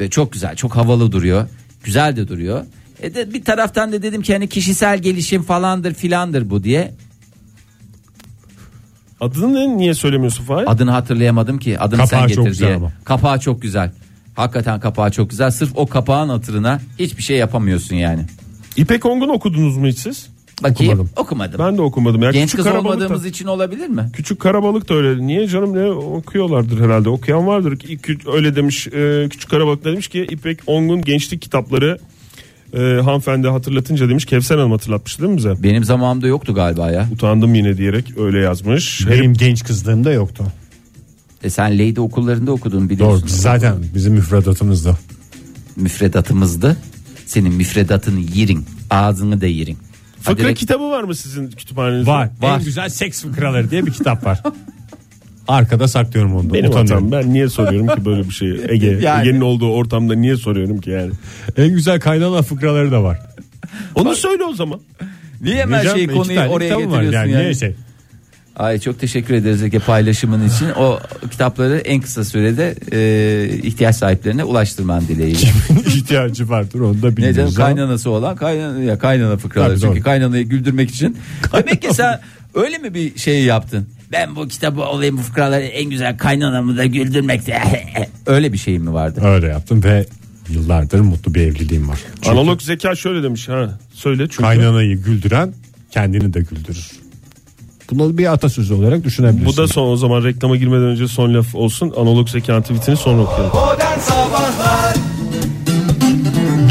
S3: Ve çok güzel, çok havalı duruyor. Güzel de duruyor. E de bir taraftan da dedim ki hani kişisel gelişim falandır filandır bu diye.
S4: Adını ne, niye söylemiyorsun Fahir?
S3: Adını hatırlayamadım ki. Adını
S2: Kapağı
S3: sen
S2: çok
S3: getir
S2: güzel
S3: diye.
S2: ama.
S3: Kapağı çok güzel. Hakikaten kapağı çok güzel. Sırf o kapağın hatırına hiçbir şey yapamıyorsun yani.
S4: İpek Ongun okudunuz mu hiç siz?
S3: Bakayım
S2: Okumadım.
S3: okumadım.
S4: Ben de okumadım. Ya.
S3: Genç
S4: Küçük
S3: kız
S4: Karabalık da-
S3: olmadığımız için olabilir mi?
S4: Küçük Karabalık da öyle. Niye canım ne okuyorlardır herhalde. Okuyan vardır. Ki- kü- Öyle demiş e, Küçük Karabalık da demiş ki İpek Ongun gençlik kitapları e, hanımefendi hatırlatınca demiş Kevser Hanım hatırlatmıştı değil mi bize?
S3: Benim zamanımda yoktu galiba ya.
S4: Utandım yine diyerek öyle yazmış.
S2: Benim genç kızlığımda yoktu.
S3: E sen Leydi okullarında okudun biliyorsun.
S2: Doğru. biz Zaten bizim müfredatımızda.
S3: müfredatımızdı. Senin müfredatını yirin. Ağzını da yirin. Hadi
S4: Fıkra
S3: rek-
S4: kitabı var mı sizin kütüphanenizde? E,
S2: Var.
S3: Var.
S2: En güzel seks fıkraları diye bir kitap var. Arkada saklıyorum onu. da,
S4: Benim
S2: utanıyorum.
S4: hatam. Ben niye soruyorum ki böyle bir şeyi? Ege,
S3: Yani.
S4: Ege'nin olduğu ortamda niye soruyorum ki yani?
S2: En güzel kaynana fıkraları da var.
S4: Onu söyle o zaman.
S3: Niye hemen
S2: Hocam,
S3: şey
S2: iki
S3: konuyu
S2: tane
S3: oraya
S2: kitabım
S3: getiriyorsun
S2: var
S3: yani?
S2: niye şey?
S3: Ay çok teşekkür ederiz Ege paylaşımın için. O kitapları en kısa sürede e, ihtiyaç sahiplerine ulaştırman dileğiyle.
S2: ihtiyacı var. Dur onu da
S3: Ne canım
S2: bilmiyoruz ama.
S3: kaynanası olan kaynana, ya kaynana fıkraları.
S2: Tabii,
S3: Çünkü
S2: doğru.
S3: kaynanayı güldürmek için. Demek ki sen öyle mi bir şey yaptın? Ben bu kitabı alayım bu fıkraları en güzel kaynanamı da güldürmekte. öyle bir şeyim mi vardı?
S2: Öyle yaptım ve yıllardır mutlu bir evliliğim var. Çünkü
S4: Analog zeka şöyle demiş ha. Söyle çünkü.
S2: kaynanayı güldüren kendini de güldürür. Bunu bir atasözü olarak düşünebilirsin.
S4: Bu da son o zaman reklama girmeden önce son laf olsun. Analog zeka tweetini sonra okuyalım.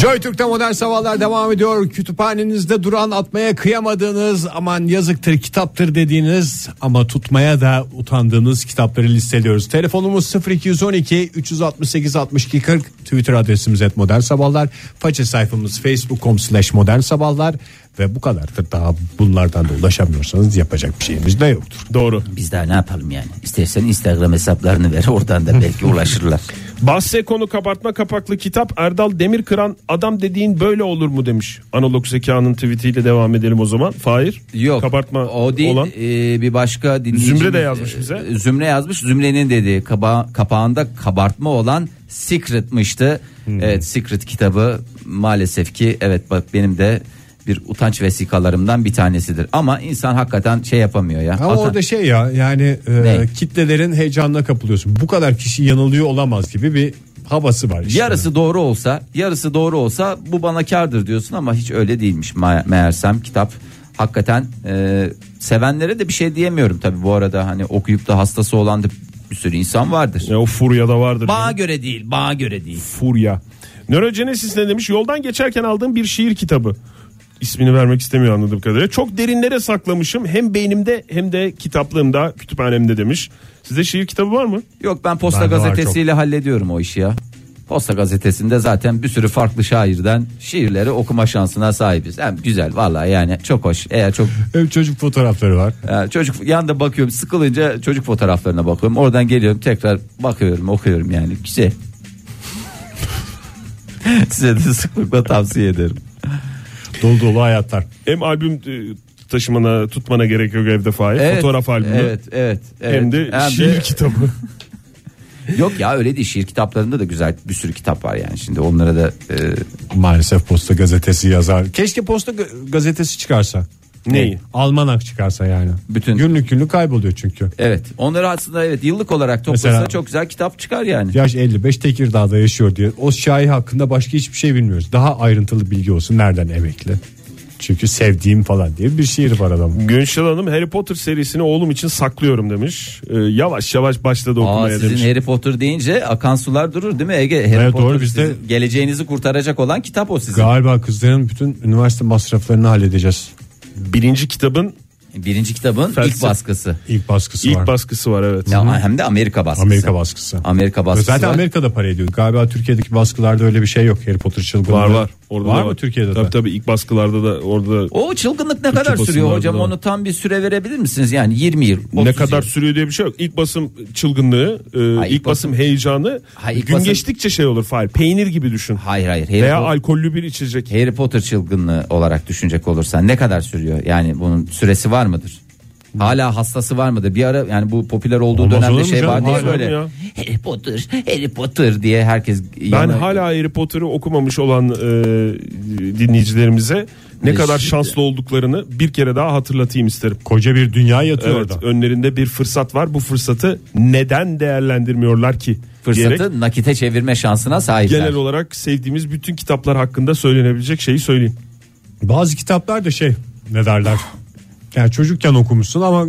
S2: Joy Türk'te modern sabahlar devam ediyor. Kütüphanenizde duran atmaya kıyamadığınız aman yazıktır kitaptır dediğiniz ama tutmaya da utandığınız kitapları listeliyoruz. Telefonumuz 0212 368 62 40 Twitter adresimiz et modern sabahlar. Faça sayfamız facebook.com slash modern sabahlar ve bu kadardır. Daha bunlardan da ulaşamıyorsanız yapacak bir şeyimiz de yoktur.
S4: Doğru.
S3: Biz daha ne yapalım yani? İstersen Instagram hesaplarını ver oradan da belki ulaşırlar.
S4: Bahse konu kabartma kapaklı kitap Erdal Demirkıran adam dediğin böyle olur mu demiş. Analog zekanın tweetiyle devam edelim o zaman. Fahir.
S3: Yok.
S4: Kabartma
S3: o değil.
S4: olan.
S3: e, bir başka dinleyicimiz.
S4: Zümre de yazmış bize.
S3: e, Zümre yazmış. Zümre'nin dediği kaba, kapağında kabartma olan Secret'mıştı.
S4: Hmm.
S3: Evet Secret kitabı maalesef ki evet bak benim de bir utanç vesikalarımdan bir tanesidir. Ama insan hakikaten şey yapamıyor ya.
S2: Ama
S3: Ata-
S2: orada şey ya yani e,
S3: Ne?
S2: kitlelerin heyecanına kapılıyorsun. Bu kadar kişi yanılıyor olamaz gibi bir havası var. işte.
S3: Yarısı doğru olsa, yarısı doğru olsa bu bana kardır diyorsun ama hiç öyle değilmiş ma- meğersem kitap. Hakikaten e, sevenlere de bir şey diyemiyorum tabii bu arada hani okuyup da hastası olan da bir sürü insan vardır.
S4: Ya o furya da vardır.
S3: Bağa göre değil, bağa göre değil.
S4: furya. Nörogenesis ne demiş? Yoldan geçerken aldığım bir şiir kitabı. İsmini vermek istemiyor anladığım kadarıyla. Çok derinlere saklamışım hem beynimde hem de kitaplığımda kütüphanemde demiş. Sizde şiir kitabı var mı?
S3: Yok ben posta
S2: Bende var
S3: gazetesiyle hallediyorum o işi ya. Posta gazetesinde zaten bir sürü farklı şairden şiirleri okuma şansına sahibiz. Hem güzel vallahi yani çok hoş. Eğer çok
S2: Hem çocuk fotoğrafları var.
S3: Ee, çocuk yanda bakıyorum sıkılınca çocuk fotoğraflarına bakıyorum. Oradan geliyorum tekrar bakıyorum okuyorum yani güzel. Size de sıklıkla tavsiye ederim.
S2: Dolu dolu hayatlar.
S4: Hem albüm e, taşımana tutmana gerek yok evde Fahir. Fotoğraf albümü.
S3: Evet evet. evet.
S4: Hem de şiir kitabı.
S3: Yok ya öyle değil şiir kitaplarında da güzel bir sürü kitap var yani şimdi onlara da e,
S2: Maalesef posta gazetesi yazar. Keşke posta ga- gazetesi çıkarsa. E,
S4: Neyi?
S2: Almanak çıkarsa yani.
S3: Bütün-
S2: Günlük günlük kayboluyor çünkü.
S3: evet onları aslında evet yıllık olarak toplasa
S2: Mesela-
S3: çok güzel kitap çıkar yani.
S2: Yaş 55 Tekirdağ'da yaşıyor diye. O şair hakkında başka hiçbir şey bilmiyoruz. Daha ayrıntılı bilgi olsun nereden emekli. Çünkü sevdiğim falan diye bir şiir var adamın.
S4: Günşil Hanım Harry Potter serisini oğlum için saklıyorum demiş. E, yavaş yavaş başladı okumaya
S3: Aa, sizin
S4: demiş.
S3: Harry Potter deyince akan sular durur değil mi Ege? Harry
S2: Evet,
S3: Potter
S2: doğru, bizde-
S3: sizin geleceğinizi kurtaracak olan kitap o sizin.
S2: Galiba kızların bütün üniversite masraflarını halledeceğiz.
S4: Birinci kitabın
S3: Birinci kitabın ilk
S4: Felsefe-
S3: baskısı.
S2: İlk baskısı
S4: İlk
S2: var.
S4: baskısı var evet.
S3: Ya, hem de Amerika baskısı.
S2: Amerika baskısı.
S3: Amerika baskısı
S2: Zaten
S3: var.
S2: Amerika'da para ediyor. Galiba Türkiye'deki baskılarda öyle bir şey yok. Harry Potter çılgınlığı.
S4: Var var. Orada
S2: var
S4: da
S2: mı Türkiye'de
S4: Tabii
S2: de?
S4: tabii ilk baskılarda da orada
S3: O çılgınlık ne kadar
S4: basımlarda
S3: sürüyor hocam?
S4: da var.
S3: Onu tam bir süre verebilir misiniz? Yani 20 yıl. 30
S4: ne kadar
S3: yıl.
S4: sürüyor diye bir şey yok. İlk basım çılgınlığı, e,
S3: Ha, ilk
S4: ilk, basım,
S3: basım-
S4: heyecanı
S3: Ha, ilk
S4: gün
S3: basım-
S4: geçtikçe şey olur Fahir. Peynir gibi düşün.
S3: Hayır hayır. Harry,
S4: Veya
S3: Potter,
S4: alkollü bir içecek.
S3: Harry Potter çılgınlığı olarak düşünecek olursan ne kadar sürüyor? Yani bunun süresi var mıdır? Hala hastası var mıdır? Bir ara yani bu popüler olduğu
S2: Olmaz olur
S3: dönemde
S2: mu
S3: şey
S2: canım?
S3: vardı ya
S4: Hala mı
S3: böyle.
S4: ya?
S3: Harry Potter, Harry Potter diye herkes
S4: Ben
S3: yana-
S4: hala Harry Potter'ı okumamış olan e, dinleyicilerimize ne
S3: Ve
S4: kadar
S3: şimdi-
S4: şanslı olduklarını bir kere daha hatırlatayım isterim.
S2: Koca bir dünya yatıyor
S4: Evet,
S2: orada.
S4: önlerinde bir fırsat var. Bu fırsatı neden değerlendirmiyorlar ki?
S3: fırsatı
S4: diyerek
S3: nakite çevirme şansına sahipler.
S4: genel olarak sevdiğimiz bütün kitaplar hakkında söylenebilecek şeyi söyleyeyim.
S2: Bazı kitaplar da şey ne derler. Yani çocukken okumuşsun ama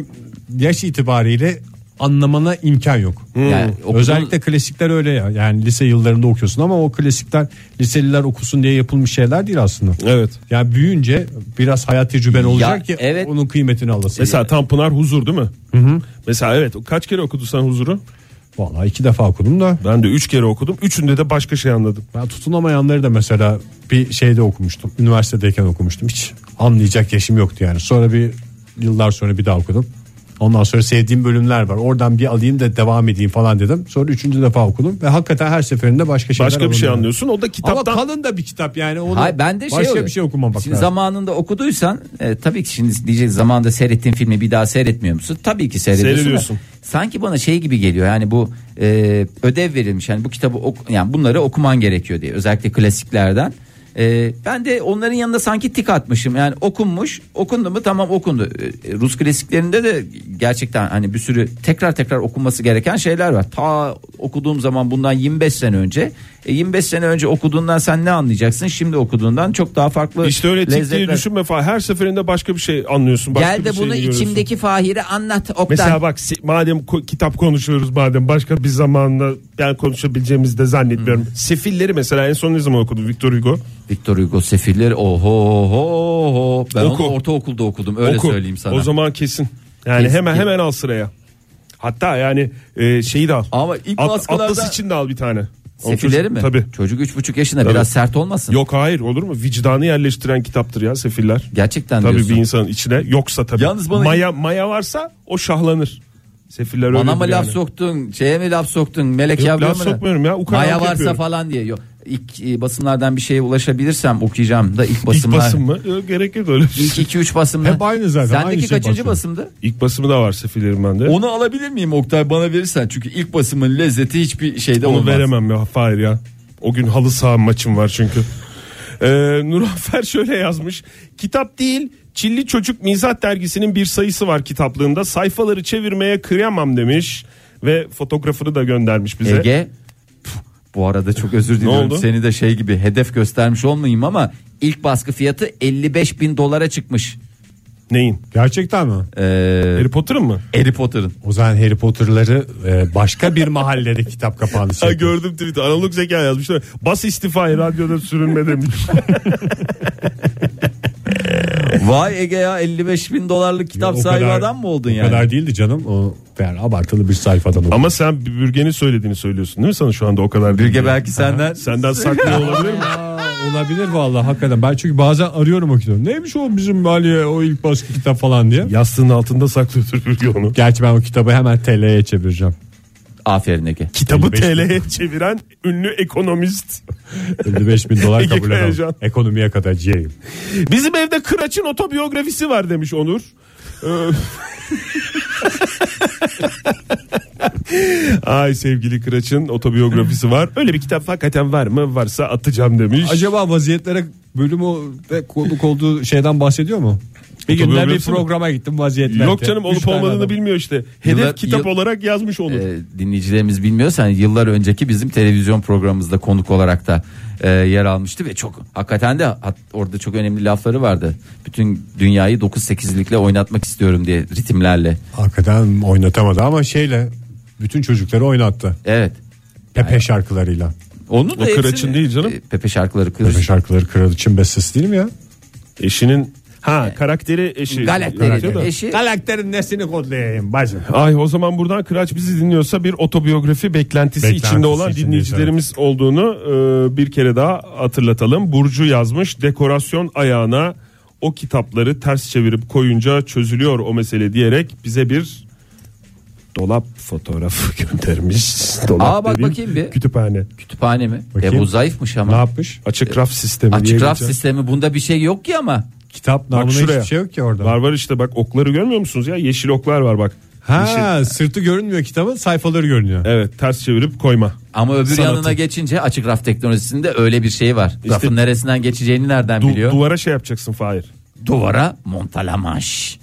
S2: yaş itibariyle anlamana imkan yok.
S3: Yani okuduğun-
S2: Özellikle klasikler öyle ya. Yani lise yıllarında okuyorsun ama o klasikler liseliler okusun diye yapılmış şeyler değil aslında.
S4: Evet.
S2: Yani büyüyünce biraz hayat tecrüben olacak ki
S3: evet.
S2: onun kıymetini alasın.
S4: Mesela Tanpınar Huzur değil mi? Mesela evet kaç kere okudun sen Huzur'u?
S2: Vallahi iki defa okudum da
S4: Ben de 3 kere okudum. Üçünde de başka şey anladım.
S2: ben tutunamayanları da mesela bir şeyde okumuştum. Üniversitedeyken okumuştum. Hiç anlayacak yaşım yoktu yani. Sonra bir yıllar sonra bir daha okudum. Ondan sonra sevdiğim bölümler var. Oradan bir alayım da devam edeyim falan dedim. Sonra üçüncü defa okudum ve hakikaten her seferinde başka şeyler
S4: Başka bir şey
S2: alınıyor.
S4: anlıyorsun. O da
S2: Ama
S4: kitaptan
S2: kalın da bir kitap yani. Onu
S3: Hayır ben de şey
S2: başka
S3: oluyor.
S2: bir şey okumamak
S3: Şimdi
S2: lazım.
S3: zamanında okuduysan e, tabii ki şimdi diyecek zamanında seyrettiğin filmi bir daha seyretmiyor musun? Tabii ki seyrediyorsun. da
S4: Seyrediyorsun.
S3: Sanki bana şey gibi geliyor yani bu e, ödev verilmiş yani bu kitabı ok- yani bunları okuman gerekiyor diye özellikle klasiklerden. E, ben de onların yanında sanki tik atmışım yani okunmuş okundu mu tamam okundu. E, Rus klasiklerinde de gerçekten hani bir sürü tekrar tekrar okunması gereken şeyler var. Ta okuduğum zaman bundan 25 sene önce e, 25 sene önce okuduğundan sen ne anlayacaksın şimdi okuduğundan çok daha farklı
S4: işte öyle tik diye
S3: lezzetler.
S4: düşünme falan. Her seferinde başka bir şey anlıyorsun. Başka
S3: Gel
S4: bir
S3: de
S4: şey
S3: bunu
S4: görüyorsun.
S3: içimdeki Fahir'e anlat Oktay.
S4: Mesela bak si- madem ko- kitap konuşuyoruz madem başka bir zamanla ben konuşabileceğimizi de zannetmiyorum. Sefilleri mesela en son ne zaman okudun Victor Hugo?
S3: Victor Hugo Sefiller oho ho ho. Ben
S4: Oku.
S3: onu ortaokulda okudum öyle
S4: Oku.
S3: söyleyeyim sana.
S4: O zaman kesin. Yani
S3: Kesin.
S4: hemen hemen al sıraya. Hatta yani e, şeyi de al.
S3: Ama ilk
S4: At-
S3: baskılarda-
S4: Atlas için de al bir tane. O
S3: Sefilleri
S4: çocuk-
S3: mi?
S4: Tabii.
S3: Çocuk üç buçuk yaşında
S4: Tabii.
S3: biraz sert olmasın.
S4: Yok hayır olur mu? Vicdanı yerleştiren kitaptır ya Sefiller.
S3: Gerçekten
S4: Tabii
S3: diyorsun.
S4: bir insanın içine yoksa tabii.
S3: Yalnız bana-
S4: maya maya varsa o şahlanır. Sefiller öyle.
S3: Bana mı laf soktun? Şeye mi laf soktun? Melek
S4: Yok,
S3: yavruya
S4: laf
S3: mı?
S4: sokmuyorum ya, ukalalık
S3: Maya varsa
S4: yapıyorum.
S3: falan diye. Yok. İlk e, basımlardan bir şeye ulaşabilirsem okuyacağım da ilk
S4: İlk
S3: basımlar.
S4: basım mı? Yok, gerek yok öyle bir şey.
S3: İlk 2 3 basımda.
S2: Hep aynı zaten,
S3: Sendeki
S2: aynı şey
S3: kaçıncı
S2: basıyor.
S3: basımdı?
S4: İlk basımı da var Sefillerin bende. Onu,
S3: Onu alabilir miyim Oktay bana verirsen? Çünkü ilk basımın lezzeti hiçbir şeyde olmaz.
S4: veremem ya Fahir ya. O gün halı saha maçım var çünkü. Ee, Nurhanfer şöyle yazmış. Kitap değil Çilli Çocuk Mizah Dergisi'nin bir sayısı var kitaplığında. Sayfaları çevirmeye kıyamam demiş. Ve fotoğrafını da göndermiş bize.
S3: Ege pf, bu arada çok özür diliyorum
S4: oldu?
S3: seni de şey gibi hedef göstermiş olmayayım ama ilk baskı fiyatı 55 bin dolara çıkmış.
S4: Neyin?
S2: Gerçekten mi?
S3: Ee,
S4: Harry Potter'ın mı?
S3: Harry Potter'ın.
S2: O zaman Harry Potter'ları e, başka bir mahallede kitap kapağını
S4: Ha,
S2: çekiyor.
S4: gördüm tweet'i. Analog zeka yazmışlar. Bas istifayı radyoda sürünme demiş.
S3: Vay Ege ya 55 bin dolarlık kitap
S2: O
S3: sahibi
S2: kadar-
S3: adam mı oldun
S2: o
S3: yani?
S2: kadar değildi canım. O yani abartılı bir sayfadan oldu.
S4: Ama sen Bürge'nin söylediğini söylüyorsun değil mi sana şu anda o kadar?
S3: Bürge
S4: değil.
S3: belki senden.
S4: Senden saklıyor olabilir mi?
S2: Aa, olabilir vallahi hakikaten. Ben çünkü bazen arıyorum o kitabı. Neymiş o bizim Ali o ilk baskı kitap falan diye.
S4: Yastığın altında saklıyordur Bürge onu.
S2: Gerçi ben o kitabı hemen TL'ye çevireceğim.
S3: Aferin Ege.
S4: Kitabı
S2: 55
S4: TL'ye çeviren ünlü ekonomist.
S2: 55 bin dolar
S4: Ege
S2: kabul ederim.
S4: Kayacan.
S2: Ekonomiye kadar ciyeyim.
S4: Bizim evde Kıraç'ın otobiyografisi var demiş Onur. Ee, Ay sevgili Kıraç'ın otobiyografisi var. Öyle bir kitap hakikaten var mı? Varsa atacağım demiş.
S2: Acaba vaziyetlere bölümü ve konuk olduğu şeyden bahsediyor mu? Bir günler bir
S4: Otobiyografisi mi?
S2: programa gittim vaziyetler.
S4: Yok
S2: diye.
S4: canım
S2: Üç
S4: olup
S2: tane
S4: olmadığını
S2: adam.
S4: bilmiyor işte. Hedef
S3: Yıllar-
S4: kitap
S3: yıl-
S4: olarak yazmış olur.
S3: Ee, dinleyicilerimiz bilmiyorsa hani yıllar önceki bizim televizyon programımızda konuk olarak da e, yer almıştı ve çok hakikaten de hat- orada çok önemli lafları vardı. Bütün dünyayı 9-8'likle oynatmak istiyorum diye ritimlerle.
S2: Hakikaten oynatamadı ama şeyle bütün çocukları oynattı.
S3: Evet.
S2: Pepe şarkılarıyla.
S3: Onu da
S4: O
S3: hepsini-
S4: Kıraç'ın değil canım.
S3: E, Pepe şarkıları
S2: Pepe
S3: Kıraç.
S2: şarkıları kralı için bestesi değil mi ya?
S4: Eşinin Ha karakteri eşi. yaratıyor da.
S3: Galetleri eşi.
S2: Karakterin nesini kodlayayım bacım?
S4: Ay o zaman buradan Kıraç bizi dinliyorsa bir otobiyografi beklentisi,
S2: Beklentisi
S4: içinde olan
S2: içindeyiz,
S4: dinleyicilerimiz olduğunu e, bir kere daha hatırlatalım. Burcu yazmış dekorasyon ayağına o kitapları ters çevirip koyunca çözülüyor o mesele diyerek bize bir dolap fotoğrafı göndermiş. Dolap
S3: Aa, bak
S4: dediğim
S3: bakayım bir.
S4: Kütüphane.
S3: Kütüphane mi?
S4: Bakayım.
S3: E bu zayıfmış
S4: Ne
S3: ama.
S4: yapmış?
S2: E,
S4: Açık raf sistemi diye
S3: Açık raf
S4: geçen.
S3: sistemi bunda bir şey yok ki ama.
S2: Kitap namına
S4: şuraya.
S2: hiçbir şey yok ki orada.
S4: Var var işte bak okları görmüyor musunuz ya? Yeşil oklar var bak. Yeşil.
S2: Ha sırtı görünmüyor kitabın sayfaları görünüyor.
S4: Evet ters çevirip koyma.
S3: Ama öbür
S4: Sanatı.
S3: yanına geçince açık raf teknolojisinde öyle bir şey var. Rafın neresinden geçeceğini nereden
S4: Du-
S3: biliyor?
S4: duvara şey yapacaksın Fahir.
S3: Duvara montalamaj.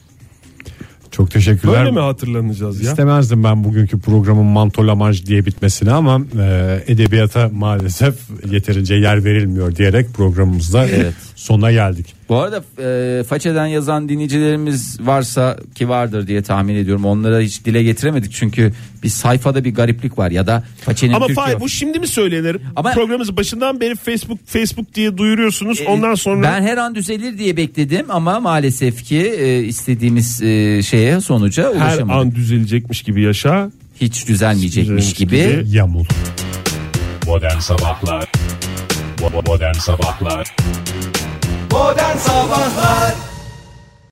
S2: Çok teşekkürler.
S4: Böyle mi hatırlanacağız ya?
S2: İstemezdim ben bugünkü programın mantolamaj diye bitmesini ama e, edebiyata maalesef yeterince yer verilmiyor diyerek programımızda
S3: Evet.
S2: sona geldik.
S3: Bu arada e, façeden yazan dinleyicilerimiz varsa ki vardır diye tahmin ediyorum. Onlara hiç dile getiremedik çünkü bir sayfada bir gariplik var ya da façenin
S4: Ama
S3: Türkçe
S4: Fahir bu şimdi mi söylenir?
S3: Ama-
S4: Programımız başından beri Facebook Facebook diye duyuruyorsunuz.
S3: E,
S4: Ondan sonra
S3: ben her an düzelir diye bekledim ama maalesef ki e, istediğimiz e, şeye sonuca
S4: her
S3: ulaşamadık.
S4: an düzelecekmiş gibi yaşa.
S3: Hiç düzelmeyecekmiş
S4: Düzelmiş
S3: gibi.
S4: gibi.
S2: Yamul.
S8: Modern Sabahlar Bo- bo- Modern Sabahlar
S9: Modern Sabahlar